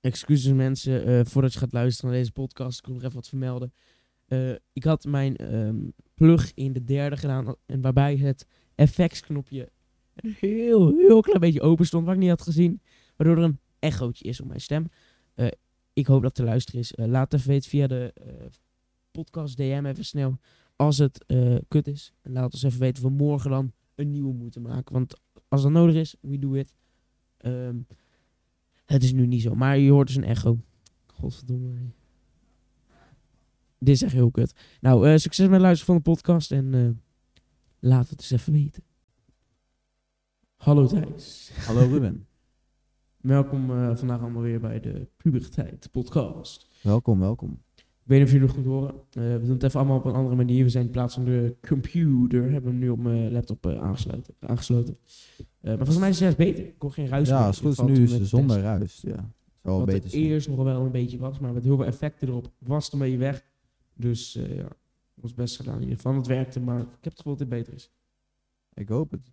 Excuses mensen, eh, voordat je gaat luisteren naar deze podcast, ik wil nog even wat vermelden. Eh, ik had mijn ehm, plug in de derde gedaan en waarbij het FX-knopje een heel, heel klein beetje open stond, wat ik niet had gezien. Waardoor er een echootje is op mijn stem. Eh, ik hoop dat te luisteren is. Eh, laat even weten via de eh, podcast DM even snel als het eh, kut is. En laat ons even weten of we morgen dan een nieuwe moeten maken. Want als dat nodig is, we do it. Ehm, het is nu niet zo, maar je hoort dus een echo. Godverdomme. Dit is echt heel kut. Nou, eh, succes met het luisteren van de podcast en eh, laat het eens even weten. Hallo Thijs. Hallo Ruben. Welkom eh, vandaag allemaal weer bij de Puberteit podcast. welkom, welkom. Ik weet niet of jullie het goed horen. Eh, we doen het even allemaal op een andere manier. We zijn in plaats van de computer, hebben we hem nu op mijn laptop eh, aangesluiten, aangesloten. Eh, maar volgens mij is het zelfs beter. Ik hoor geen ruis ja, meer. als het Het goed is valt nu toen is met de de zonder test. ruis. Ja, zou wel Wat beter het zijn. eerst nog wel een beetje was, maar met heel veel effecten erop was het een beetje weg. Dus eh ja, ons best gedaan in ieder geval. Het werkte, maar ik heb het gevoel dat dit beter is. Ik hoop het.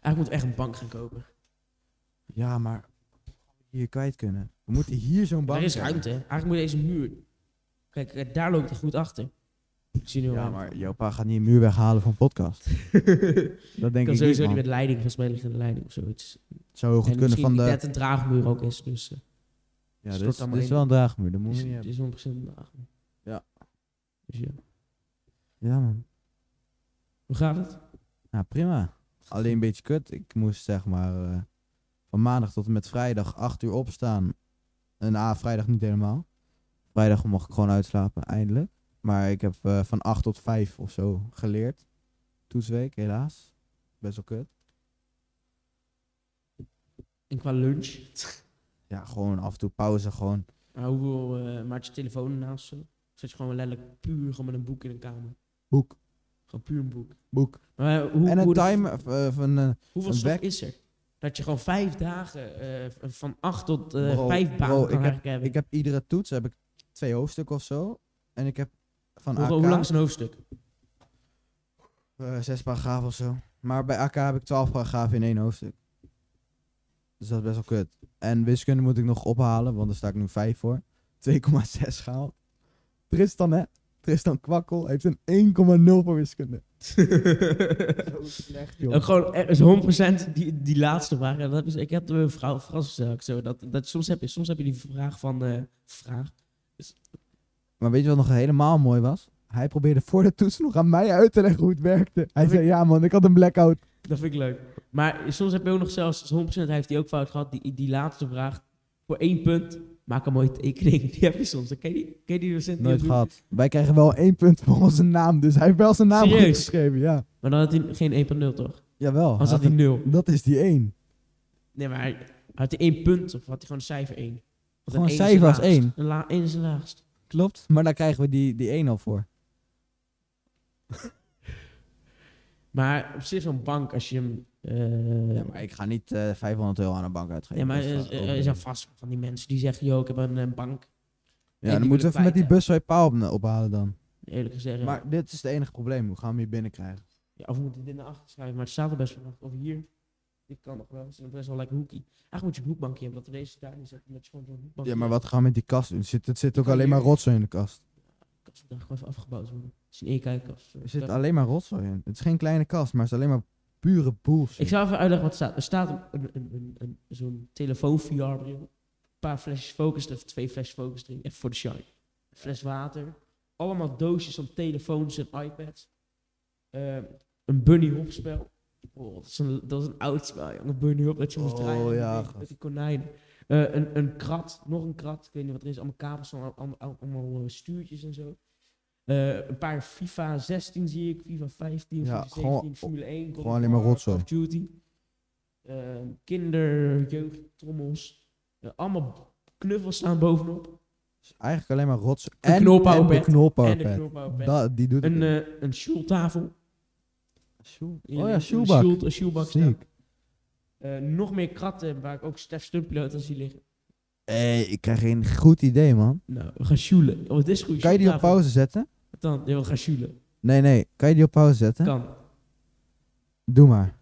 Eigenlijk moet ik echt een bank gaan kopen. Ja, maar hier kwijt kunnen. We moeten hier zo'n bank er is hebben. ruimte. hè. Eigenlijk moet deze muur... Kijk, eh, daar loopt hij goed achter. Ik zie nu al Ja, ruimte. maar jouw pa gaat niet een muur weghalen van podcast. Dat Ik denk kan ik sowieso niet niet, man. met leiding, volgens mij ligt er een leiding of zoiets. Het zou heel goed en kunnen misschien van de... net een draagmuur ook is. Dus eh, Ja, stort dit is, allemaal dit is in. wel een draagmuur. Dat moet is- je niet het hebben. is 100% een draagmuur. Ja. Dus ja. Ja, man. Hoe gaat het? Nou, prima. Alleen een beetje kut. Ik moest zeg maar eh, van maandag tot en met vrijdag 8 uur opstaan. En ah, vrijdag niet helemaal. Vrijdag mocht ik gewoon uitslapen, eindelijk. Maar ik heb eh, van 8 tot 5 of zo geleerd. Toetsweek, helaas. Best wel kut. En qua lunch? Ja, gewoon af en toe pauze, gewoon. Maar hoeveel eh maakt je telefoon naast zo? Zet je gewoon letterlijk puur gewoon met een boek in een kamer? Boek, Gewoon puur een boek. boek. Maar eh, hoe, en een hoe de- timer of, eh, van... eh, hoeveel een stof wek- is er? Dat je gewoon vijf dagen eh, v- van acht tot eh, Bro, vijf banen bro, kan ik heb- eigenlijk hebben. ik heb iedere toets, heb ik twee hoofdstukken of zo. En ik heb van hoe, AK... hoe lang is een hoofdstuk? Eh, zes paragrafen of zo. Maar bij AK heb ik twaalf paragrafen in één hoofdstuk. Dus dat is best wel kut. En wiskunde moet ik nog ophalen, want daar sta ik nu 5 voor. 2,6 gehaald. Tristan, hè? Tristan Kwakkel heeft een 1,0 voor wiskunde. Zo slecht, joh. Ook gewoon er is 100% die, die laatste vraag. Ja, dat is, ik heb een vrouw Frans gesteld. ook Zo, dat, dat, soms, heb je, soms heb je die vraag van eh, vraag. Maar weet je wat nog helemaal mooi was? Hij probeerde voor de toets nog aan mij uit te leggen hoe het werkte. Hij zei, ja man, ik had een blackout. Dat vind ik leuk. Maar soms heb je ook nog zelfs, dus 100% heeft hij ook fout gehad. Die, die laatste vraag voor één punt. Maak een mooie tekening. Die heb je soms. Dan ken je die, ken je die docent die Nooit dat doet? gehad. Wij krijgen wel één punt voor onze naam, dus hij heeft wel zijn naam Serieus? goed geschreven, ja. Maar dan had hij geen 1.0 toch? Jawel. Als hij had hij Oh, had 0. een- dat is die 1. Nee, maar hij- had hij één punt of had hij gewoon een cijfer 1? Gewoon cijfer als één. Een la- één is de laagst. Klopt, maar daar krijgen we die, die 1 al voor. Maar op zich zo'n bank als je hem... eh, Ja, maar ik ga niet eh, 500 euro aan een bank uitgeven. Ja, maar Dat er is is, wel er ook is al niet. vast van die mensen die zeggen, joh, ik heb een, eh, bank. die Ja, dan wil ik moeten we even met die kwijt, bus bij paal op, eh, ophalen dan. Eerlijk gezegd. ja. Maar dit is het enige probleem. Hoe gaan we hem hier binnenkrijgen? Ja, of we moeten dit naar achter schuiven, maar het staat er best wel. Of hier. Dit kan nog wel. Het is nog best wel lekker hoekie. Eigenlijk moet je een hoekbankje hebben, dat we deze daar niet zetten. Dat je gewoon zo'n hoekbankje Ja, maar hebt. wat gaan we met die kast doen? Er zit, het zit ook kan alleen hier- maar rotzooi in de kast. De kast moet daar gewoon even afgebouwd worden. Het is een e-kijkkast. Er zit alleen maar rotzooi in. Het is geen kleine kast, maar het is alleen maar pure bullshit. Ik zou even uitleggen wat er staat. Er staat een, een, een, een, zo'n telefoon VR-bril. Een paar flesjes focus, of twee flesjes focus drink. Even voor de shine. Een fles water. Allemaal doosjes van telefoons en iPads. Ehm, een bunny hop spel. Oh, dat, is een, dat is een oud spel, jongen. Bunny hop, dat je moest Oh, draaien. met ja, die- gast. Met die konijnen. Eh, een, een krat, nog een krat. Ik weet niet wat er is. Allemaal kabels, van al- al- al- allemaal eh, stuurtjes en zo. Eh, een paar FIFA 16 zie ik, FIFA 15, Ja, FIFA 17, gewoon- Formule 1. God gewoon of alleen maar War, rotzooi. Call of Duty. Ehm, kinder, jeugd, trommels. Eh, allemaal knuffels staan bovenop. Het is eigenlijk alleen maar rotzooi. Een en, knolpowerpad. en de en de knolpowerpad. knophoudpad. Dat- Die doet het Een, niet. eh, een sjoeltafel. Sjoel- Hier Oh ja, links, een shoebak. sjoelt- Een sjoelbak Sneak. staat. Eh, nog meer kratten waar ik ook Stef Stumploot aan zie liggen. Hé, ik krijg geen goed idee, man. Nou, we gaan sjoelen. Oh, het is goed. Kan je die op sjoeltafel. pauze zetten? Wat Dan, ja, we gaan sjoelen. Nee, nee. Kan je die op pauze zetten? Kan. Doe maar.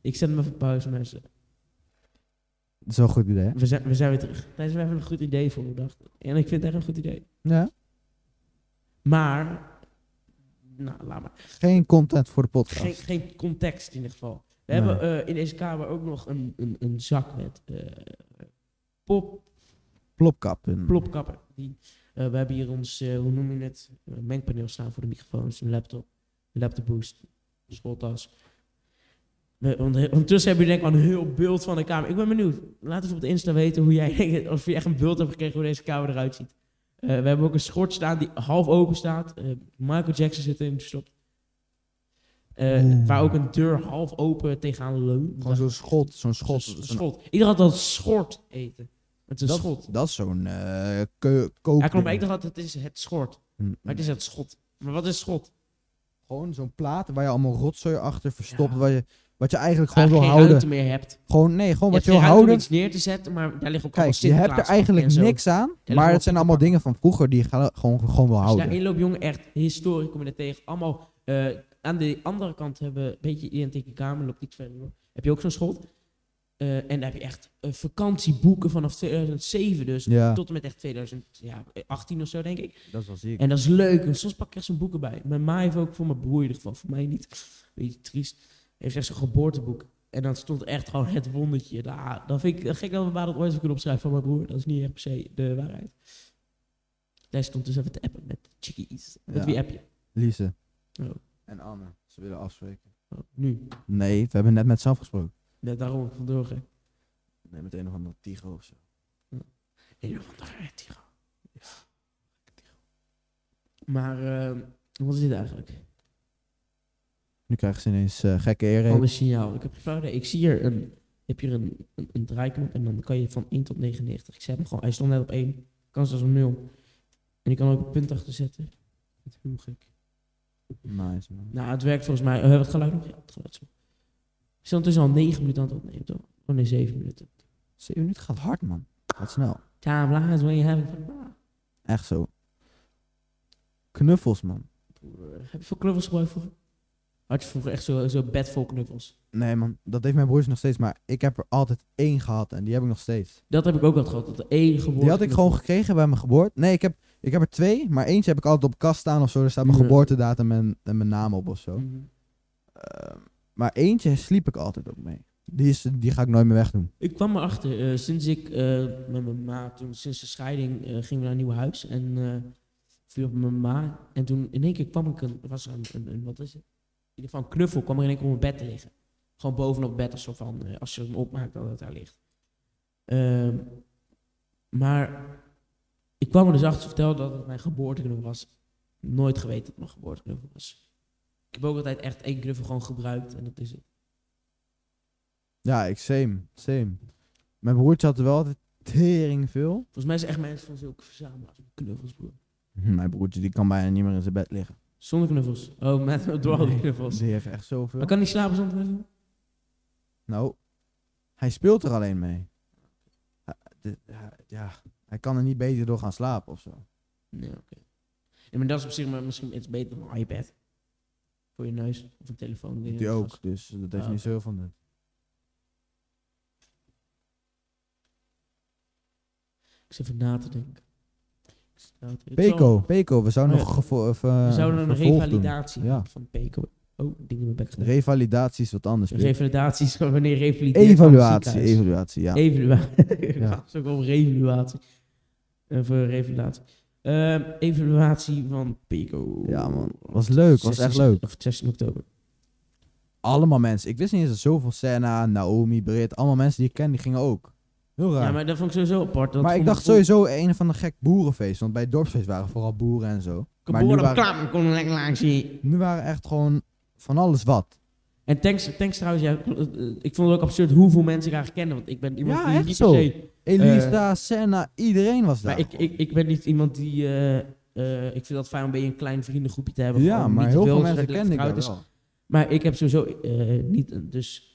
Ik zet hem even op pauze, mensen. Dat is wel een goed idee, hè? We zijn, we zijn weer terug. Thijs, we hebben een goed idee voor bedacht. En ik vind het echt een goed idee. Ja. Maar, nou, laat maar. Geen content voor de podcast. Geen, geen context in ieder geval. We Nee. hebben eh, in deze kamer ook nog een, een, een zak met eh, pop, Plopkap. en- plopkappen. Die, eh, we hebben hier ons, eh, hoe noem je het, eh, mengpaneel staan voor de microfoons, een laptop, een laptop boost, een schooltas. We- ont- Ondertussen hebben jullie denk ik al een heel beeld van de kamer. Ik ben benieuwd. Laat even op de Insta weten hoe jij, of je echt een beeld hebt gekregen hoe deze kamer eruit ziet. Eh, we hebben ook een schort staan die half open staat. Eh, Michael Jackson zit erin gestopt. Eh, Oeh. waar ook een deur half open tegenaan leunt. Gewoon zo'n schot. Zo'n schot. Een zo'n- schot. Iedereen had dat schort eten. Het is een dat, schot. dat is zo'n eh keu- kook. Ja, klopt. Maar ik dacht altijd, het is het schort. Mm, Maar het is het schot. Maar wat is schot? Gewoon zo'n plaat waar je allemaal rotzooi achter verstopt. Ja. Wat, je, wat je eigenlijk Waar gewoon je geen wil houden. ruimte meer hebt. Gewoon, nee, gewoon Je hebt wat je geen wil ruimte om houden. iets neer te zetten, maar daar liggen ook Kijk, allemaal je hebt er Sinterklaaspakken en eigenlijk zo. niks aan. gewoon Maar het zijn allemaal opgepakken. dingen van vroeger die je ga- gewoon, gewoon wil Als je houden. daarin loopt, jongen, echt historisch kom je er tegen. Allemaal eh, aan de andere kant hebben een beetje identieke kamer, loopt iets verder. hoor. Heb je ook zo'n schot? Eh, en dan heb je echt eh, vakantieboeken vanaf 2007 dus. Ja, Tot en met echt 2018 of zo, denk ik. dat is wel ziek. En dat is leuk. En soms pak ik echt zo'n boeken bij. Mijn ma heeft ook voor mijn broer in ieder geval. Voor mij niet. Beetje triest. Heeft echt zo'n geboorteboek. En dan stond echt gewoon het wondertje. Nou, dan vind ik het gek dat we maar dat ooit hebben kunnen opschrijven van mijn broer. Dat is niet echt per se de waarheid. Daar stond dus even te appen met chickies. Met Ja. wie app je? Lise. Oh. En Anne. Ze willen afspreken. Oh, nu. Nee, we hebben net met Sam gesproken. Net daarom vandoor. hè. Nee, met een of andere tigo of zo. Een of andere rare tyro. Maar eh, wat is dit eigenlijk? Nu krijgen ze ineens eh, gekke Al eerreden. een signaal. Ik heb geen flauw idee. Ik zie hier een, heb hier een, een, een draaiknop en dan kan je van 1 tot 99. Ik zet hem gewoon. Hij stond net op 1. Kan zelfs op 0. En ik kan ook een punt achter zetten. Dat is heel gek. Nice, man. Nou, het werkt volgens mij. hebben het geluid nog? Ja, het geluid is nog. Ik zit ondertussen al 9 minuten aan het opnemen, toch? Oh nee, 7 minuten. Zeven minuten gaat hard, man. Gaat snel. Time lies when you having fun. Echt zo. Knuffels, man. Broer, Ah, Heb je veel knuffels gebruikt vroeger? Had je vroeger echt zo'n zo bed vol knuffels? Nee, man. Dat heeft mijn broers nog steeds. Maar ik heb er altijd één gehad. En die heb ik nog steeds. Dat heb ik ook altijd gehad. Dat de één geboorte. Die had ik gewoon gekregen bij mijn geboorte. Nee, ik heb, ik heb er twee. Maar eentje heb ik altijd op kast staan of zo. Daar staat mijn Ja. geboortedatum en, en mijn naam op of zo. Mhm. Ehm, maar eentje sliep ik altijd ook mee. Die, is, die ga ik nooit meer wegdoen. Ik kwam erachter, eh, sinds ik eh, met mijn ma, toen sinds de scheiding, eh, gingen we naar een nieuw huis en eh viel op mijn ma. En toen in één keer kwam ik een, was er een, een, een- wat is het? In ieder geval een knuffel kwam er in één keer op mijn bed te liggen. Gewoon bovenop het bed of zo van, eh, als je hem opmaakt, dat het daar ligt. Ehm, maar ik kwam er dus achter, ze vertelde dat het mijn geboorteknuffel was. Nooit geweten dat het mijn geboorteknuffel was. Ik heb ook altijd echt één knuffel gewoon gebruikt en dat is het. Ja, ik same. Same. Mijn broertje had er wel altijd tering veel. Volgens mij zijn echt mensen van zulke verzamelaars met knuffels, broer. Hm, Mijn broertje die kan bijna niet meer in zijn bed liggen. Zonder knuffels. Oh, met door al die knuffels. Die heeft echt zoveel. Maar kan niet slapen zonder knuffel? Nou, hij speelt er alleen mee. Hij- de- hij- Ja, hij kan er niet beter door gaan slapen of zo. Nee, oké. Nee, maar dat is op zich maar misschien iets beter dan een iPad. Voor je neus of een telefoon. weet je Die wat ook, het dus dat heeft Ah, niet zoveel van nut. was. Ik zit even na te denken. Ik zit na te- het zal- Peco, Peco, we zouden Oh ja. nog gevo- of, We eh, zouden een vervolg revalidatie doen. Ja. van Peko. Oh, dingen in mijn bek doen. gedaan. Revalidatie is wat anders. Pik. Revalidatie is gewoon wanneer je revalideert. van het Evaluatie, ziekenhuis. evaluatie, ja. Evaluatie. Ja. Ja. is ook wel revaluatie. Eh, voor revalidatie. Ehm, evaluatie van Pico. Ja, man. Was leuk, was echt 16 leuk. Of 16 oktober. Allemaal mensen. Ik wist niet eens dat zoveel Senna, Naomi, Britt, allemaal mensen die ik ken, die gingen ook. Heel raar. Ja, maar maar dat vond ik sowieso apart. Dat ik om- dacht sowieso een van de gek boerenfeest, want bij het dorpsfeest waren vooral boeren en zo. Maar nu Geboren op waren, klap, kon een lekker laag zien. nu waren echt gewoon van alles wat. En thanks, thanks trouwens, ja, eh, eh, ik vond het ook absurd hoeveel mensen ik eigenlijk kende. Want ik ben iemand Ja, die echt niet zo. per se... Elisa, Senna, iedereen was daar. Eh. Maar ik, ik, ik ben niet iemand die... eh, eh, ik vind dat fijn om bij je een klein vriendengroepje te hebben. ja, gewoon maar niet heel te veel zodat mensen het lekker kende ik daar vertrouwd is. wel. Maar ik heb sowieso eh, niet... een- Dus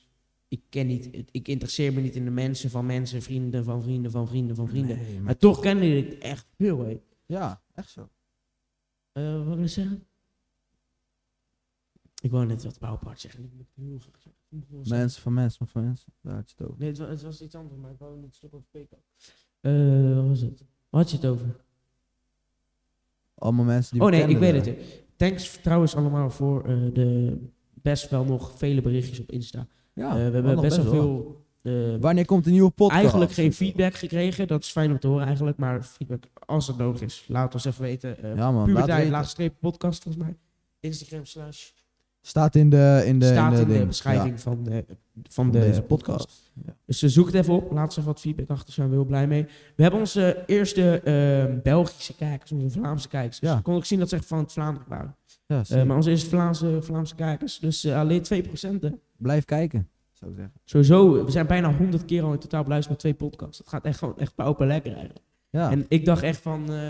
ik ken niet... Ik interesseer me niet in de mensen van mensen, vrienden van vrienden van vrienden van vrienden. Nee, maar- Maar toch kende ik echt veel, hé. Ja, echt zo. Eh, wat wil ik zeggen? Ik wou net wat Pauwpaard zeggen. Ik moet het heel graag zeggen. ongeveer zeggen. Mensen van mensen van mensen. Daar had je het over. Nee, het was, het was iets anders, maar ik wou niet stuk over spreken. Eh, wat was het? Waar had je het over? Allemaal mensen die oh nee, we ik weet kenden het. daar. weer. Thanks trouwens allemaal voor eh, de best wel nog vele berichtjes op Insta. Ja, Eh, we hebben allemaal best wel wat. veel... eh, Wanneer komt de nieuwe podcast? Eigenlijk geen feedback gekregen. Dat is fijn om te horen eigenlijk. Maar feedback als het nodig is. Laat ons even weten. eh Ja man, laat Puberteit, weten. laatste streep podcast volgens mij. Instagram slash. staat in de, in de, staat in de, ding. beschrijving Ja, van, de, van, van de deze podcast. Ja. Dus eh, zoek het even op. Laat ze wat feedback achter. Zijn we heel blij mee. We hebben onze eerste eh, Belgische kijkers. Onze Vlaamse kijkers. Ja. Ik kon ook zien dat ze echt van het Vlaanderen waren. Ja, Eh, zie je. maar onze eerste Vlaamse, Vlaamse kijkers. Dus eh, alleen 2%. Hè. Blijf kijken, zou ik zeggen. Sowieso. eh, We zijn bijna 100 keer al in totaal beluisterd met twee podcasts. Dat gaat echt gewoon echt pauper lekker eigenlijk. Ja. En ik dacht echt van eh,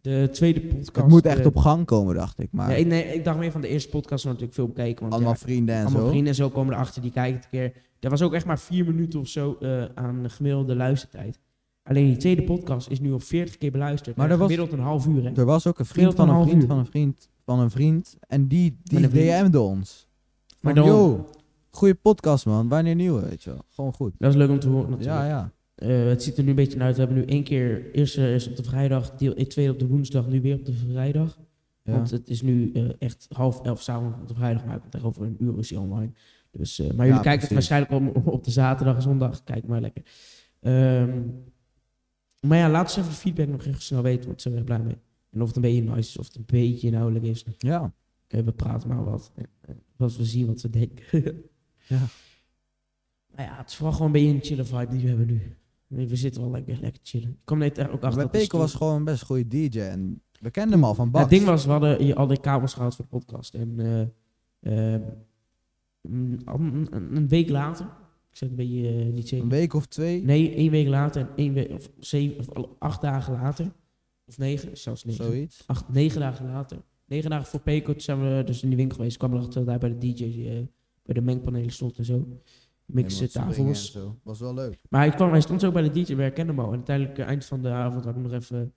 de tweede podcast. het moet echt eh, op gang komen, dacht ik. Maar Nee, ik- nee, ik dacht meer van de eerste podcast was natuurlijk veel bekeken. Want allemaal ja, vrienden en allemaal zo. vrienden en zo komen erachter, die kijken het een keer. Er was ook echt maar vier minuten of zo eh, aan gemiddelde luistertijd. Alleen die tweede podcast is nu al 40 keer beluisterd. Maar Maar er was- gemiddeld een half uur. Hè. Er was ook een vriend Meer dan van een een vriend half van een vriend van een vriend. En die, Met die een vriend. DM'de ons. Maar Maar dan, yo, goede podcast man. Wanneer nieuwe, weet je wel. Gewoon goed. dat is leuk om te horen natuurlijk. Ja, ja. Eh, het ziet er nu een beetje naar uit. We hebben nu één keer, eerst, eh, eerst op de vrijdag, deel, eh, tweede op de woensdag, nu weer op de vrijdag. ja. Want het is nu eh, echt half elf s'avonds op de vrijdag, maar echt over een uur is hij online. Dus, eh, maar jullie Ja, kijken het precies. waarschijnlijk op, op de zaterdag en zondag. Kijk maar lekker. Ehm, maar ja, laat eens even feedback nog even snel weten, want ze zijn we erg blij mee. En of het een beetje nice is, of het een beetje inhoudelijk is. Ja. Eh, we praten maar wat. En, eh, Wat we zien, wat we denken. Ja. Maar ja, het is vooral gewoon een beetje een chille vibe die we hebben nu. Nee, We zitten wel lekker, lekker chillen. Ik kwam net er ook achter. Maar dat de Pekel stoel- was gewoon een best goede DJ. En we kenden hem al van ja, Bas. het ding was, we hadden hier al die kabels gehaald voor de podcast. En eh, eh, mm, al een, een- een week later, ik zeg een beetje eh, niet zeker. Een week of twee. Nee, één week later en één week, of, zeven, of al- acht dagen later. Of negen, zelfs negen. Zoiets. Acht, negen dagen later. Negen dagen voor Peco, toen zijn we dus in die winkel geweest. kwamen erachter dat hij bij de DJ, eh, bij de mengpanelen stond en zo. Mixen, Helemaal springen en tafels. zo. Was wel leuk. Maar hij, kwam, hij stond zo bij de DJ, we herkennen hem al. En uiteindelijk, eh, eind van de avond, had ik hem nog even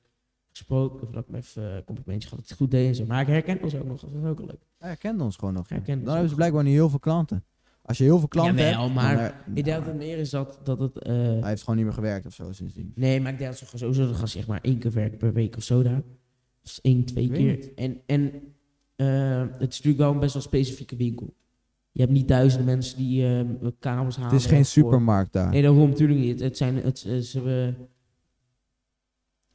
gesproken. Of dat ik hem even eh, complimentje gehad dat hij het goed deed en zo. Maar ik herkende ons ook nog, dat was ook wel leuk. Hij herkende ons gewoon nog. Hij herkende Dan ons hebben ze ook. blijkbaar niet heel veel klanten. Als je heel veel klanten Jawel, hebt... maar dan- ik denk nou, dat het meer is dat, dat het... eh, Hij heeft gewoon niet meer gewerkt of zo sindsdien. nee, maar ik denk dat ze gewoon sowieso dat gaan zeg maar één keer werken per week of zo daar. Dus één, twee Ik weet keer. En, en eh, het is natuurlijk wel een best wel specifieke winkel. Je hebt niet duizenden mensen die eh kamers halen. Het is geen voor- supermarkt daar. Nee, daarom natuurlijk niet. Het zijn, het, eh, ze hebben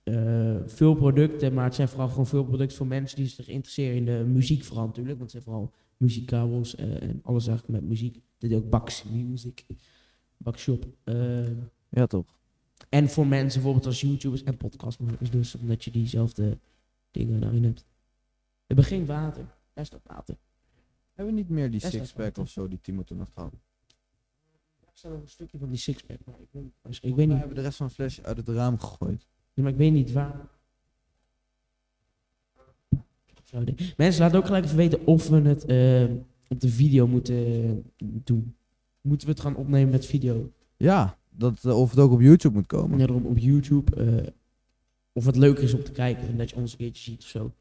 eh, veel producten, maar het zijn vooral gewoon veel producten voor mensen die zich interesseren in de muziek vooral natuurlijk. Want het zijn vooral muziekkabels eh, en alles eigenlijk met muziek. Dit is ook Bax Music, Bakshop. eh, Ja, toch? en voor mensen bijvoorbeeld als YouTubers en podcastmakers dus, omdat je diezelfde dingen daarin hebt. We hebben geen water. Daar staat water. Hebben we niet meer die Daar staat sixpack of zo die Timo toen had gehad? Daar staat nog een stukje van die sixpack, maar ik weet, niet- ik weet We niet, hebben de rest van de fles uit het raam gegooid. Ja, maar ik weet niet waar. Zo, de- Mensen, laat ook gelijk even weten of we het eh, op de video moeten eh, doen. Moeten we het gaan opnemen met video? Ja, dat, eh, of het ook op YouTube moet komen. Net op YouTube. eh, of het leuker is om te kijken en dat je ons een keertje ziet of zo.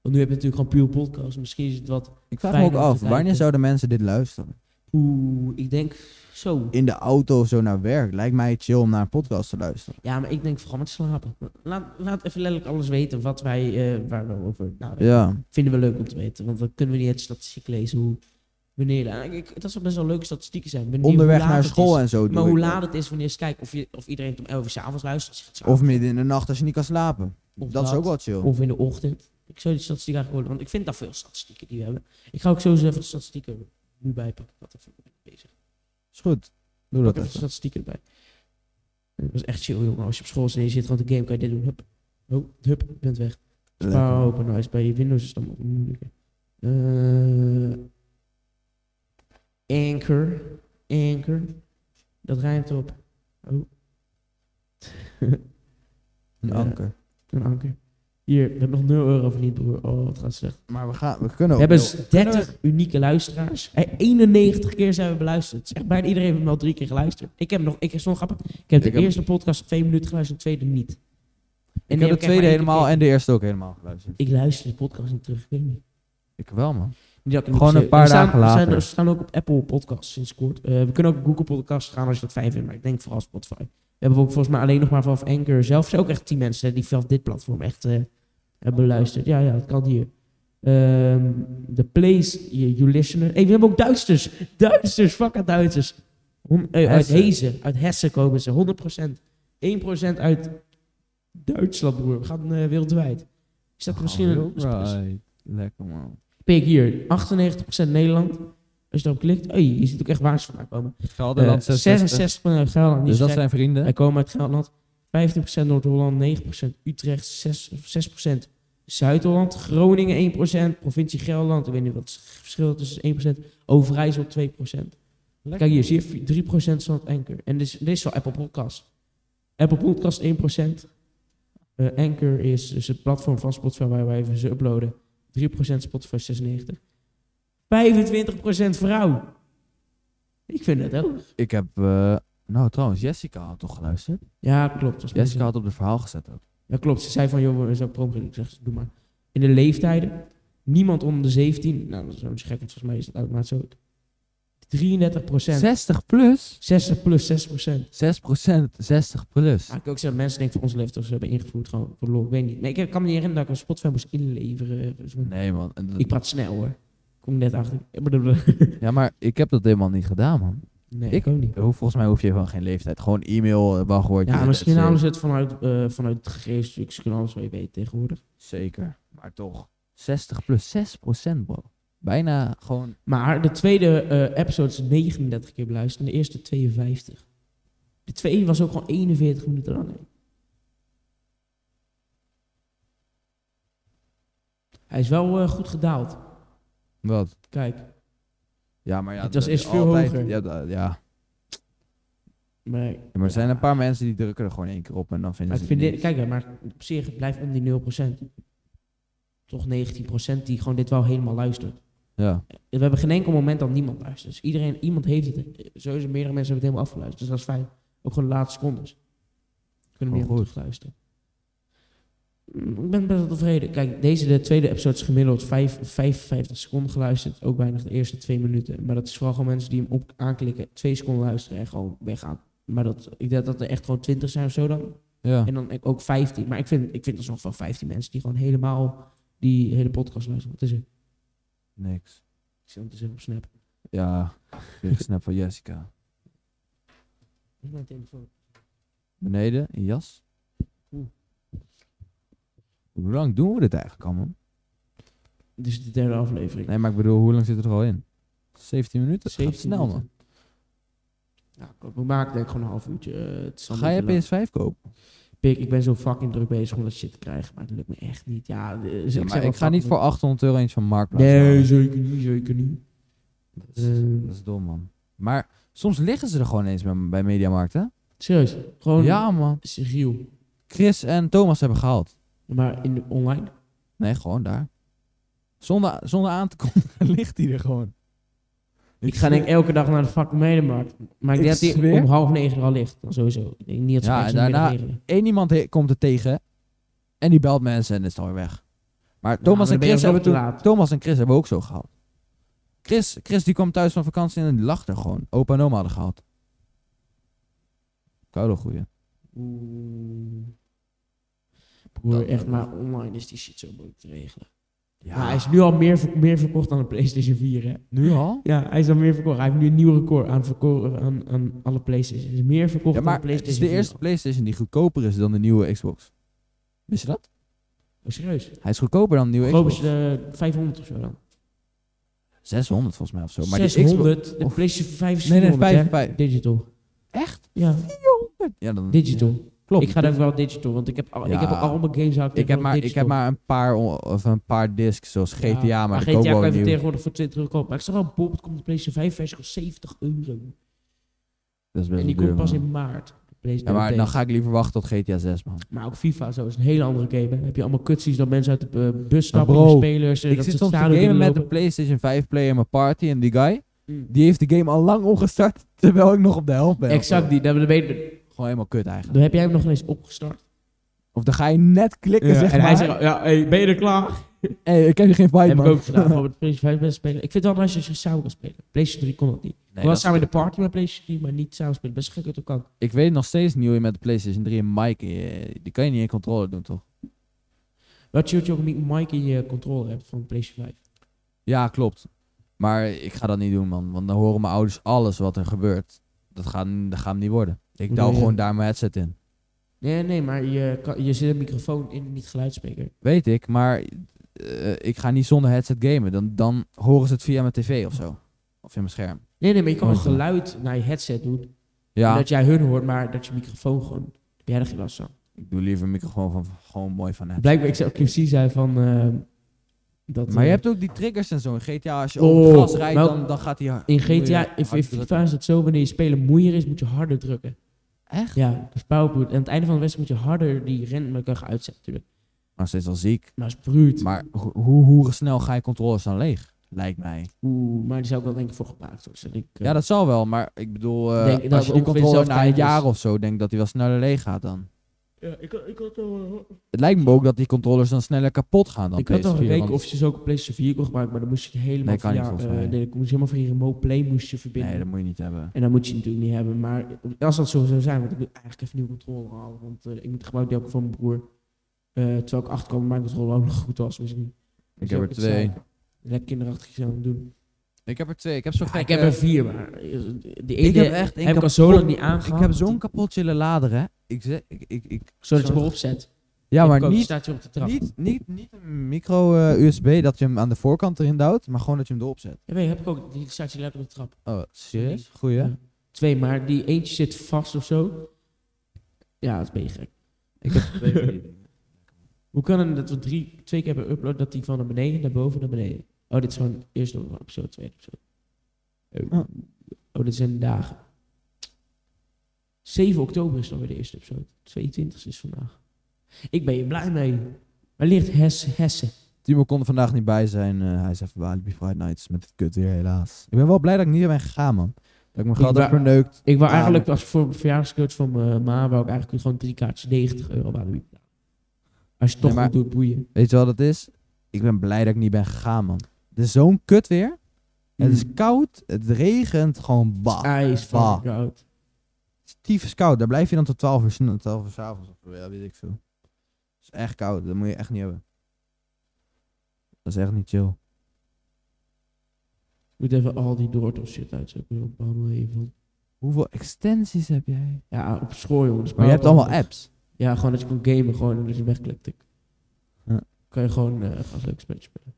Want nu heb je natuurlijk gewoon puur podcast. Misschien is het wat. Ik vraag Fijn me om ook te af, kijken. wanneer zouden mensen dit luisteren? Oeh, ik denk zo. In de auto of zo naar werk. Lijkt mij chill om naar een podcast te luisteren. Ja, maar ik denk vooral met slapen. Laat, laat even letterlijk alles weten wat wij, eh, waar we over nadenken. Ja, vinden we leuk om te weten. Want dan kunnen we niet het statistiek lezen hoe wanneer. En ik, ik- dat zou best wel leuke statistieken zijn. wanneer- onderweg hoe laat naar het school is. en zo. doe Maar hoe ik dat. laat het is wanneer ze kijken of, je, of iedereen het om 11 uur s'avonds luistert. als je gaat slapen. Of midden in de nacht als je niet kan slapen. Of dat is dat. ook wel chill. Of in de ochtend. Ik zou die statistiek eigenlijk horen, want ik vind daar veel statistieken die we hebben. Ik ga ook sowieso even de statistieken nu bijpakken. Ik had even bezig. Is goed. Pak Doe dat even de even. statistieken erbij. Dat is echt chill, jongen. Als je op school zit en je zit gewoon te game, kan je dit doen. Hup, oh, hup, je bent weg. Lekker. Maar open nou, is bij je Windows is dat wat moeilijker. Eh, anchor. Anchor. Dat rijmt op Oh, Een Ja. anker. een anker. Hier, we hebben nog 0 euro verdiend, broer. Oh, het gaat slecht. Maar we, gaan, we kunnen We ook... hebben wel- s- 30 unieke luisteraars. Eh, 91 keer zijn we beluisterd. Zeg, bijna iedereen heeft hem wel drie keer geluisterd. Ik heb nog, ik heb zo'n grappig. Ik heb de Ik heb- eerste podcast twee minuten geluisterd, de tweede niet. En ik heb de tweede helemaal En... en de eerste ook helemaal geluisterd. Ik luister de podcast niet terug, ik weet niet. Ik wel, man. Die had ik nog Gewoon een steeds. paar Die staan, dagen later. Zijn, ze staan ook op Apple Podcasts sinds kort. Eh, we kunnen ook op Google Podcasts gaan als je dat fijn vindt, maar ik denk vooral Spotify. We hebben ook volgens mij alleen nog maar vanaf Anchor zelf. Er zijn ook echt tien mensen hè, die vanaf dit platform echt eh, hebben beluisterd. Ja, ja, dat kan hier. Ehm the place, you, you listener. Hey, we hebben ook Duitsers. Duitsers, fucking Duitsers. Hon- eh, uit Hessen. Hezen, uit Hessen komen ze, 100%. 1% uit Duitsland, broer. We gaan eh, wereldwijd. Is dat misschien een... Alright. Lekker man. Pik hier, 98% Nederland. Als je daarop klikt, hey, je ziet ook echt waar ze vandaan komen. Eh, 66% Gelderland 66. uit Gelderland. Dus dat zijn... zijn vrienden. Wij komen uit Gelderland. 15% Noord-Holland, 9% Utrecht, 6, 6% Zuid-Holland. Groningen 1%, provincie Gelderland. Ik weet niet wat het verschil tussen 1%. Overijssel 2%. Lekker. Kijk hier, zie je 3% van Anchor. En dit is, dit is wel Apple Podcast. Apple Podcast 1%. Eh, Anchor is dus het platform van Spotify waar wij even ze uploaden. 3% Spotify 96. 25% vrouw. Ik vind dat ook. Ik heb... eh, nou trouwens, Jessica had toch geluisterd? Ja, klopt. Dat is Jessica had op de verhaal gezet ook. Ja, klopt. Ze zei van, joh, we zijn promo. Ik zeg, doe maar. In de leeftijden, niemand onder de 17. Nou, dat is wel eens gek, want volgens mij is dat automatisch zo. 33 60 plus? 60 plus 60 6 60 plus. Ja, ik kan ook zeggen dat mensen denken van onze leeftijd ze hebben ingevoerd gewoon voor de lol. Ik weet niet. Maar ik kan me niet herinneren dat ik een Spotify moest inleveren. Dus Nee man. En dat- Ik praat snel hoor. Kom net achter. Ja, maar ik heb dat helemaal niet gedaan man. Nee, ik ook niet. Hoe- Volgens mij hoef je gewoon geen leeftijd. Gewoon e-mail, eh, wachtwoord. Ja, eh, misschien dat halen ze soort- het vanuit, eh vanuit het gegevens. Ik kan alles wel je weet tegenwoordig. Zeker. Maar toch. 60 plus 6 bro. Bijna gewoon... Maar de tweede eh, episode is 39 keer beluisterd en de eerste 52. De tweede was ook gewoon 41 minuten lang. hè. Hij is wel eh, goed gedaald. Wat? Kijk, Ja, maar ja... Het was dat eerst is veel altijd- hoger. Ja, dat- ja. maar Ja, maar er zijn een paar mensen die drukken er gewoon één keer op en dan vinden Maar ze ik vind het dit, niks. kijk, hè, maar op zich het blijft om die 0%. Toch 19% die gewoon dit wel helemaal luistert. Ja, We hebben geen enkel moment dat niemand luistert. Dus iedereen, iemand heeft het. eh, Sowieso meerdere mensen hebben het helemaal afgeluisterd. Dus dat is fijn. Ook gewoon de laatste secondes. Kunnen Gewoon meer goed luisteren. Mm, Ik ben best wel tevreden. Kijk, deze de tweede episode is gemiddeld 5, 55 seconden geluisterd. Ook weinig de eerste twee minuten. Maar dat is vooral gewoon mensen die hem op aanklikken, twee seconden luisteren en gewoon weggaan. Maar dat, ik denk dat er echt gewoon 20 zijn of zo dan. ja. En dan ook 15. Maar ik vind, ik vind er nog wel 15 mensen die gewoon helemaal die hele podcast luisteren. Wat is er? niks. Ik zit hem te zeggen op Snap. Ja, weer snap van Jessica. Wat is mijn telefoon? Beneden, een jas. Oeh. Hoe lang doen we dit eigenlijk allemaal? Dit is de derde aflevering. Nee, maar ik bedoel, hoe lang zit het er al in? 17 minuten? 17 17 snel man. minuten. Ja, klopt. We maken denk ik gewoon een half uurtje. eh, het is al een Ga je beetje Dus lang. PS5 kopen? Pik, ik ben zo fucking druk bezig om dat shit te krijgen. Maar het lukt me echt niet. Ja, eh, dus Ja, ik, maar zeg ik ga niet voor 800 euro eentje van Marktplaats Nee, halen. zeker niet, zeker niet. Ehm, Dat is, dat is dom man. Maar soms liggen ze er gewoon eens bij, bij Mediamarkt hè? Serieus, gewoon ja. Ja man. Serieel. Chris en Thomas hebben gehaald. Maar in de online? Nee, gewoon daar. Zonder, zonder aan te kondigen ligt hij er gewoon. Ik, ga denk ik elke dag naar de fucking medemarkt. Maar ik Ik denk dat die zweer. om half negen er al ligt. Dan sowieso. Ik denk niet dat ze Ja, ja, en daarna... daarna- regelen. Eén iemand he- komt er tegen en die belt mensen en is dan weer weg. Maar maar Nou, dan Thomas, en, ben je Chris wel hebben te toen, laat. Thomas en Chris hebben we ook zo gehaald. Chris, Chris die kwam thuis van vakantie en die lag er gewoon. Opa en oma hadden gehaald. Koude goeie. Oeh. Broer, Dat- echt, maar online is die shit zo moeilijk te regelen. Ja, Maar hij is nu al meer, ver- meer verkocht dan de PlayStation 4, hè? nu al? Ja, hij is al meer verkocht. Hij heeft nu een nieuw record aan, verko- aan, aan alle PlayStation. Hij is meer verkocht Ja, maar dan de het PlayStation is de 4 eerste al. Playstation die goedkoper is dan de nieuwe Xbox. Wist je dat? Oh, serieus? Hij is goedkoper dan de nieuwe Geloof Xbox. is de 500 of zo dan. 600 volgens mij of zo. Maar Die 600. De of- PlayStation 5 is Nee, nee, 400, hè? 5. Digital. Echt? Ja, Xbox... Ja, dan... digital. Klopt. Ik ga dan wel digital, want ik heb al, ik Ja. heb al mijn games uit. Ik heb, maar, ik heb maar een paar, on- of een paar discs, zoals GTA, maar, maar ik koop GTA kan wel je een nieuw. tegenwoordig voor 20 euro kopen. Maar ik zag wel, bijvoorbeeld komt de PlayStation 5 versie voor 70 euro. Dat is best En die wel komt duur, pas man. in maart. De Ja, PlayStation maar dan Update. ga ik liever wachten tot GTA 6, man. Maar ook FIFA zo is een hele andere game. hè. Dan heb je allemaal cutscenes dat mensen uit de eh, bus stappen, bro, de spelers. eh, Ik dat zit ze soms te stadion gamen met binnenlopen. een PlayStation 5 player in mijn party en die guy, Mm. die heeft de game al lang opgestart, terwijl ik nog op de helft ben. Exact die. Dan, ben je- Gewoon helemaal kut eigenlijk. dan heb jij hem nog ineens opgestart. Of dan ga je net klikken, Ja, zeg en maar. hij zegt, ja, hey, ben je er klaar? hey, ik heb je geen fight, heb man. ik ook gedaan, Robert PlayStation 5 best spelen. Ik vind het wel nice als je samen kan spelen. PlayStation 3 kon dat niet. Nee, we dat- was samen in de party met PlayStation 3, maar niet samen spelen. Best gek uit elkaar. Ik weet nog steeds niet hoe je met de PlayStation 3 en mic, eh, die kan je niet in controle doen, toch? Wel chill dat je ook niet Mike in je controle hebt van PlayStation 5. Ja, klopt. Maar ik ga dat niet doen, man. Want dan horen mijn ouders alles wat er gebeurt. Dat gaat, dat gaat hem niet worden. Ik douw Nee. gewoon daar mijn headset in. Nee, nee, maar je, kan, je zit een microfoon in, niet geluidsspreker. Weet ik, maar eh, ik ga niet zonder headset gamen. Dan, dan horen ze het via mijn tv of zo. Of in mijn scherm. Nee, nee, maar je kan Oh, het goed. geluid naar je headset doen. Ja, Dat jij hun hoort, maar dat je microfoon gewoon... Heb jij er geen last van? ik doe liever een microfoon van gewoon mooi van headset. Blijkbaar, ik zei ook precies zei van... ehm, dat, Maar je eh, hebt ook die triggers en zo. In GTA, als je Oh, op het gas rijdt, nou, dan, dan gaat hij hard. In moet GTA, je hard in, in drukken. FIFA is het zo, wanneer je spelen moeier is, moet je harder drukken. Echt? Ja, dat is powerpoint. En aan het einde van de wedstrijd moet je harder die rentmekker gaan uitzetten natuurlijk. Maar steeds al ziek. Maar dat is bruut. Maar ho- hoe, hoe snel ga je controles dan leeg? Lijkt mij. Oeh, maar die zou ik wel denk ik voor gepaard worden. zodat ik, eh, Ja, dat zal wel, maar ik bedoel, eh, Denk dat als je die ongeveer controle dezelfde na een tijd dus- jaar is. of zo denk ik dat hij wel sneller leeg gaat dan. Ja, ik, had- ik had eh, al... Het lijkt me ook dat die controllers dan sneller kapot gaan dan ik had al PS4, gekeken want- of je ze ook op PlayStation 4 kon gebruiken, maar dan moest je het helemaal Nee, kan niet via, volgens eh, mij. nee, dan moest je helemaal via remote play moest je verbinden. Nee, dat moet je niet hebben. En dat moet je natuurlijk niet hebben, maar als dat zo zou zijn, want ik moet eigenlijk even nieuwe controle halen, want eh, ik moet gebruik die heb ik van mijn broer. Eh, terwijl ik achterkwam dat mijn controle ook nog goed was, misschien. Ik heb er twee. Lekker kinderachtig aan het doen. Ik heb er twee. Ik heb zo'n Ja, gek, ik heb eh, er vier, maar eh, die ene ik heb echt heb een ik al kapot- zo lang niet aangehad. Ik heb zo'n kapot chille lader, hè. Ik zeg, ik, ik, ik- Zodat je zo'n- hem opzet. Ja, Ik maar kook, niet, staat je op de trap. niet, niet, niet een eh, micro-USB dat je hem aan de voorkant erin duwt, maar gewoon dat je hem erop zet. Ja, weet je, heb ik ook. Die staat je lekker op de trap. Oh, serieus? Goeie. Ja. Twee, maar die eentje zit vast of zo. Ja, dat is ben je gek. Ik heb twee van die dingen. Hoe kan het dat we drie, twee keer hebben upload dat die van naar beneden, naar boven, naar beneden? Oh, dit is gewoon eerste episode, tweede episode. Oh, Oh. oh, dit zijn dagen. 7 oktober is dan weer de eerste episode. 22 is vandaag. Ik ben je blij mee. Waar ligt Hesse? Hesse? Timo kon er vandaag niet bij zijn. eh, hij is even bij Alibi Friday Nights met het kut weer, helaas. Ik ben wel blij dat ik niet ben gegaan, man. Dat ik me geld ben- heb verneukt. Ik wou Ja, eigenlijk als voor verjaarscoach van mijn ma, wou ik eigenlijk gewoon drie kaartjes 90 euro aan de Als je het toch Nee, maar- goed doet, boeien. Weet je wat het is? Ik ben blij dat ik niet ben gegaan, man. Het is zo'n kut weer. Het is koud. Het regent. Gewoon bah. Mm. IJs bah. van koud. Stief is koud. Daar blijf je dan tot 12 uur, sn- 12 uur 's avonds. Of zo. ja, weet ik veel. Het is echt koud. Dat moet je echt niet hebben. Dat is echt niet chill. Ik moet even al die Doortof shit uitzoeken. Op allemaal even. Hoeveel extensies heb jij? Ja, op school, jongens. Maar je hebt allemaal apps. Ja, gewoon dat je kon gamen, gewoon en dat je wegklikt. ik. Ja. Kan je gewoon eh als leuk spelletje spelen.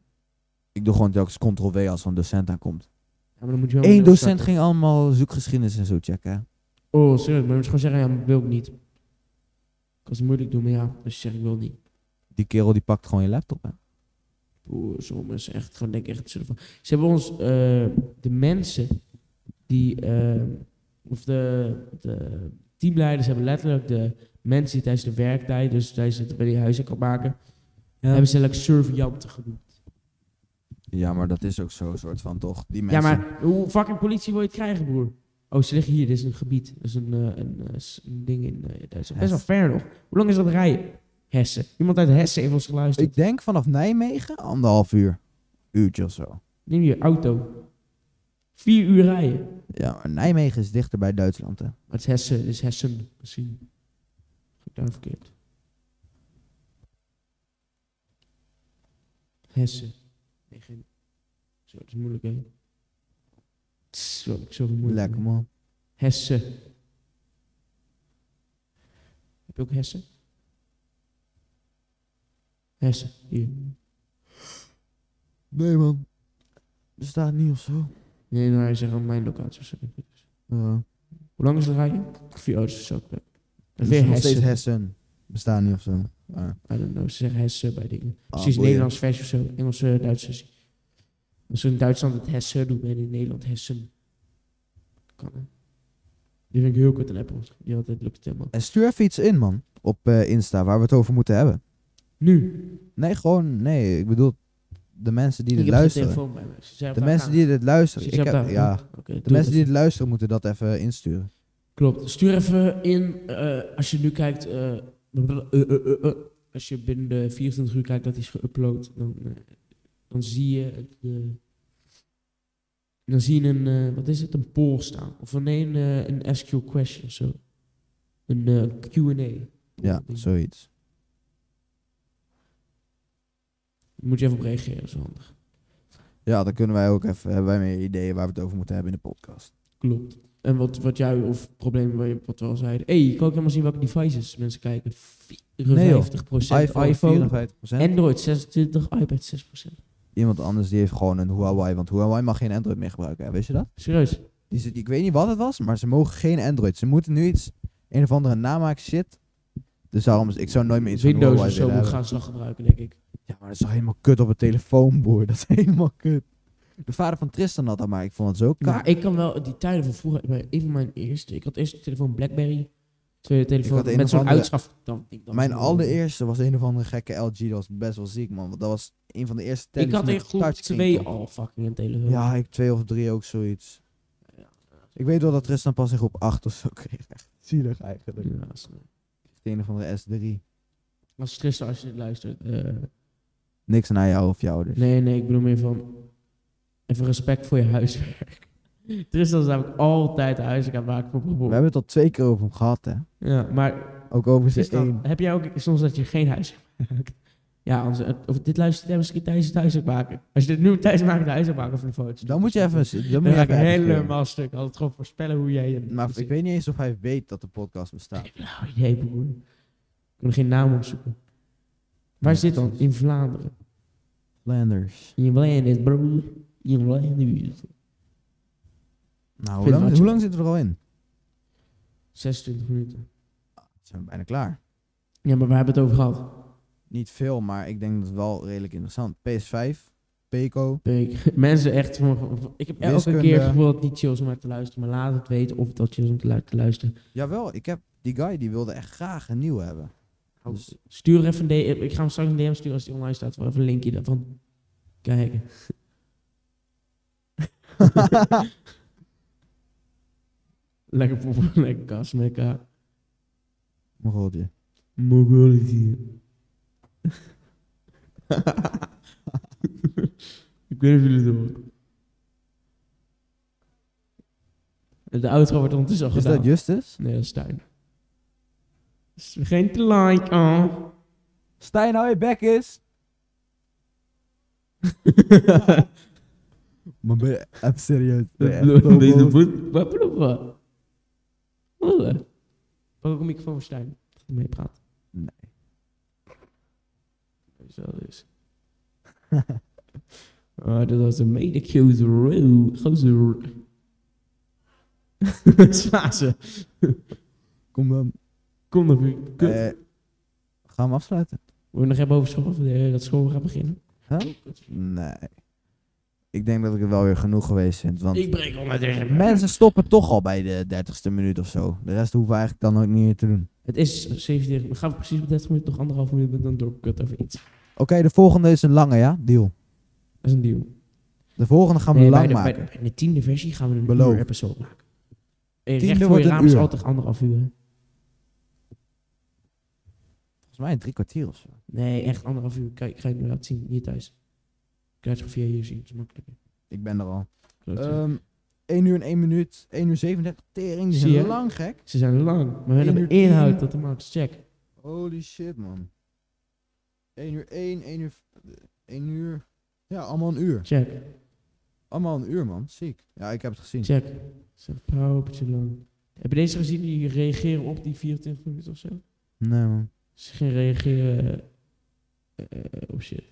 Ik doe gewoon telkens ctrl-w als zo'n docent aankomt. Ja, maar dan moet je wel Eén opnieuw docent starten. ging allemaal zoekgeschiedenis en zo checken. hè. Oh, serieus, maar dan moet je gewoon zeggen, ja, maar ik wil ik niet. Ik kan ze moeilijk doen, maar ja, als je zegt ik wil niet. Die kerel die pakt gewoon je laptop, hè. Oeh, sommige is echt gewoon denk ik echt zullen van. Ze hebben ons eh, de mensen die eh, of de, de teamleiders hebben letterlijk de mensen die tijdens de werktijd, dus tijdens het bij die huizen kan maken, hebben ze letterlijk surveillanten genoemd. Ja, maar dat is ook zo'n soort van, toch? Die Ja, mensen... maar hoe fucking politie wil je het krijgen, broer? Oh, ze liggen hier. Dit is een gebied. Dat is een, eh, een, eh, s- een ding in eh, Duitsland. Best wel ver nog. Hoe lang is dat rijden? Hessen. Iemand uit Hessen heeft ons geluisterd. Ik denk vanaf Nijmegen anderhalf uur. Uurtje of zo. Neem je auto. Vier uur rijden. Ja, maar Nijmegen is dichter bij Duitsland, hè. Maar het is Hessen. Het is Hessen. Misschien. Heb ik daar verkeerd. Hessen. Nee, geen... Zo, het is moeilijk, hè? Tss, wat heb ik zoveel moeilijk. Lekker, man. Hessen. Heb je ook Hessen? Hessen, hier. Nee, man. Bestaat niet of zo. Nee, maar hij zegt aan mijn locatie. of zo. Ja. Hoe lang is het rijden? Vier auto's is ook leuk. Het En is weer nog steeds Hessen. Hessen. Bestaat niet of zo. Ja. I don't know, ze zeggen Hessen bij dingen. Precies, Ah, boeien. Nederlands vers of zo. Engelse, Duitse. Als ze in Duitsland het Hessen doen, en in Nederland Hessen. Kan, hè? Die vind ik heel kut een Apple. Die altijd lukt het helemaal. En stuur even iets in, man. Op eh, Insta, waar we het over moeten hebben. Nu. Nee, gewoon... Nee, ik bedoel... De mensen die ik dit heb geen Dus luisteren. telefoon bij me. Ze zijn op De haar mensen gang. die dit luisteren. Ze Ik zijn op heb, haar ja. gang. Oké, De doe mensen het. die dit luisteren moeten dat even insturen. Klopt. Stuur even in, eh, als je nu kijkt, eh, eh, eh, eh, eh, Als je binnen de 24 uur kijkt dat is geüpload, dan, eh, dan zie je het, eh, dan zie je een, eh, wat is het, een poll staan. Of nee, een, eh, een SQ question of zo. Een eh, Q&A. Ja, zoiets. Daar moet je even op reageren, dat is wel handig. Ja, dan kunnen wij ook even, hebben wij meer ideeën waar we het over moeten hebben in de podcast. Klopt. En wat, wat jij, of problemen waar je wat we al zeiden. Hé, hey, ik kan ook helemaal zien welke devices mensen kijken. 54% iPhone, iPhone 54%. Android 26, iPad 6%. Iemand anders die heeft gewoon een Huawei, want Huawei mag geen Android meer gebruiken. hè, Wist je dat? Serieus. Die zit, ik weet niet wat het was, maar ze mogen geen Android. Ze moeten nu iets, een of andere namaak shit. Dus daarom, is- ik zou nooit meer iets van Windows Huawei of willen zo moet hebben. gaan ze dan gebruiken, denk ik. Ja, maar dat is helemaal kut op een telefoon, broer. Dat is helemaal kut. De vader van Tristan had dat, maar ik vond het zo Maar kaak. ik kan wel die tijden van vroeger, bij een van mijn eerste. Ik had eerst een telefoon Blackberry, tweede telefoon had een met of zo'n andere- uitschaf. Dan, ik dan Mijn allereerste was een of andere gekke LG. Dat was best wel ziek, man. Want dat was een van de eerste Ik telefoons had in met groep touchscreen. 2 al fucking een telefoon. Ja, ik twee of drie ook zoiets. Ik weet wel dat Tristan pas in groep 8 of zo kreeg. Echt Zielig eigenlijk. Ja, dat is- Het een van de S3. Als Tristan, als je dit luistert. eh, Niks naar jou of jou dus. nee, nee, ik bedoel meer van. Even respect voor je huiswerk. Tristan is namelijk altijd huiswerk aan het maken voor We bijvoorbeeld. hebben het al twee keer over hem gehad, hè. Ja, maar Ook over zijn Tristan, één. heb jij ook soms dat je geen huiswerk maakt? Ja, anders, of dit luistert jij misschien tijdens het huiswerk maken. Als je dit nu tijdens het maken, het huiswerk maken van de foto's. Dan moet je even... Dan moet Dan je ga ik even helemaal stuk. Altijd gewoon voorspellen hoe jij... hem- Maar ik weet niet eens of hij weet dat de podcast bestaat. Nou, idee, broer. Ik kan er geen naam opzoeken. Waar Nee, zit dan? precies. In Vlaanderen. Landers. In Vlaanderen, broer. In Vlaanderen. Nou, Vind hoe lang, wat hoe je- lang zitten we er al in? 26 minuten. Zijn we bijna klaar. Ja, maar waar hebben we het over gehad? Niet veel, maar ik denk dat het wel redelijk interessant. PS5, Peco. Ik- Mensen echt... van- Ik heb elke Wiskunde. keer het gevoel dat het niet chill is om naar te luisteren. Maar laat het weten of dat chill is om te lu- te luisteren. Jawel, ik heb... Die guy die wilde echt graag een nieuwe hebben. Oh. Dus- Stuur even een DM. Ik ga hem straks een DM sturen als die online staat. Wel Even een linkje daarvan. Kijken. Lekker poppen, lekker kast met elkaar. Mijn godje. Mogulity. ik weet niet of jullie het horen. De outro wordt ondertussen al Is gedaan. dat Justus? Nee, dat is Stijn. Is er geen te like, oh. Stijn, hou je bek is. Maar ben je even serieus? Ben je echt zo Deze boos? voet. Wat bedoel je? Wat? Pak ook een microfoon voor Stijn. Dat hij mee praat. Nee. Zo dus. oh, dat was een mede cute roe. Gozer. Zwaar ze. Kom dan. Kom dan, Vuur. Kut. Eh, gaan we hem afsluiten? Wil je nog even over school? Of eh, dat school gaat beginnen? Huh? Nee. Ik denk dat ik het wel weer genoeg geweest vind. Want Ik breek al tegen mensen stoppen toch al bij de 30ste minuut of zo. De rest hoeven we eigenlijk dan ook niet meer te doen. Het is 17. We gaan precies op 30 minuten, nog anderhalf minuut, met dan door kut over iets. Oké, de volgende is een lange, ja? Deal. Dat is een deal. De volgende gaan we Nee, bij lang de, bij de- maken. bij de tiende versie gaan we een Ah, Beloof. uur episode maken. Eh, Tiende recht voor wordt je een raam is uur. altijd anderhalf uur. hè? Volgens mij drie kwartier of zo. Nee, echt anderhalf uur. Kijk, ik ga je nu laten zien. Hier thuis. Ik laat je via hier zien. Dat is makkelijker. Ik ben er al. Klopt, ja. Ehm 1 uur en 1 minuut. 1 uur 37. Tering, die Zie zijn je? lang gek. Ze zijn lang, maar we één hebben uur tien. inhoud tot de max. Check. Holy shit, man. 1 uur 1, 1 uur... 1 uur... Ja, allemaal een uur. Check. Allemaal een uur, man. Ziek. Ja, ik heb het gezien. Check. Ze zijn een paar hoopje lang. Heb je deze gezien die reageren op die 24 minuten of zo? Nee, man. Ze gaan reageren eh, eh, op shit.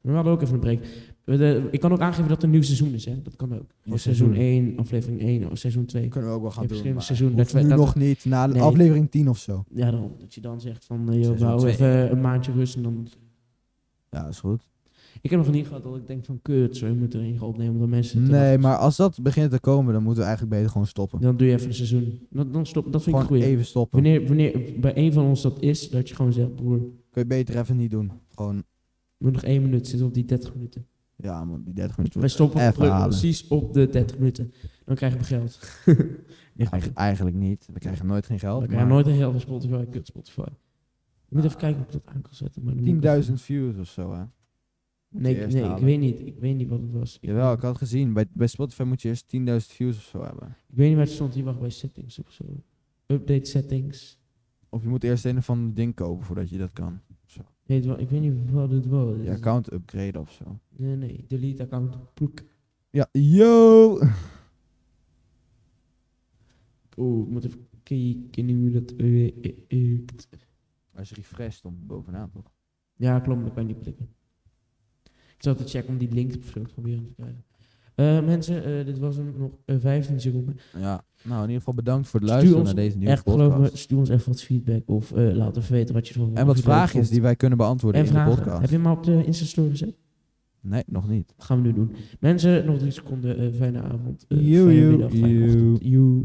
We hadden ook even een break. We de- ik kan ook aangeven dat er een nieuw seizoen is, hè? Dat kan ook. Of seizoen seizoen. 1, aflevering 1, of seizoen 2. kunnen we ook wel gaan Ja, doen. verschillende maar seizoenen, hoeft dat we- nu dat nog niet. Na Nee. aflevering 10 of zo. Ja, daarom. Dat je dan zegt van, eh, joh, we Seizoen houden twee. even een maandje rust en dan... Ja, is goed. Ik heb nog niet gehad dat ik denk van, kut, zo, je moet er een gaan opnemen omdat mensen... te Nee, wachten maar als dat begint te komen, dan moeten we eigenlijk beter gewoon stoppen. zitten. Dan doe je even een seizoen. Dan, dan stop, dat vind ik Gewoon goed. even stoppen. Wanneer, wanneer bij een van ons dat is, dat je gewoon zegt, broer, Kun je beter even niet doen. Gewoon, we nog één minuut zitten op die 30 minuten. Ja, man, die 30 minuten. Wij stoppen Even pre- halen. precies op de 30 minuten. Dan krijgen we geld. Echt, Eigen- eigenlijk niet. We krijgen nooit geen we geld. krijgen nooit een heel veel Spotify, kut Spotify. Ik moet even kijken of ik dat aan kan zetten. maar dan moet ik even- 10.000 views of zo, dus, hè? eh, Nee, ik- eerst nee ik halen. weet niet. Ik weet niet wat het was. Ik, Jawel, ik had gezien. Bij, bij Spotify moet je eerst 10.000 views of zo hebben. ik weet niet waar het stond. Hier wacht bij settings of zo. Update settings. Of je moet eerst een of ander ding kopen voordat je dat kan. Nee, het wa- ik weet niet wat het was. Je account upgraden of zo. Nee, nee. Delete account. Ploek. Ja, yo! Oeh, ik moet even kijken hoe dat eh, werkt. Als je refresh stond bovenaan, toch? Ja, klopt, maar ik kan niet klikken. Ik zal het checken om die link of zo te proberen te krijgen. Eh, mensen, eh, dit was hem nog eh, 15 seconden. Ja. Nou, in ieder geval bedankt voor het Stuur luisteren ons naar deze nieuwe Echt, podcast. geloof me, stuur ons even wat feedback of eh, laat even weten wat je ervan En wat vraagjes die wij kunnen beantwoorden en in de vragen. podcast. Heb je hem al op de Insta-story gezet? Nee, nog niet. Dat gaan we nu doen. Mensen, nog drie seconden. eh, fijne avond. eh, Joe, fijne joe, middag, fijne joe. ochtend. Joe.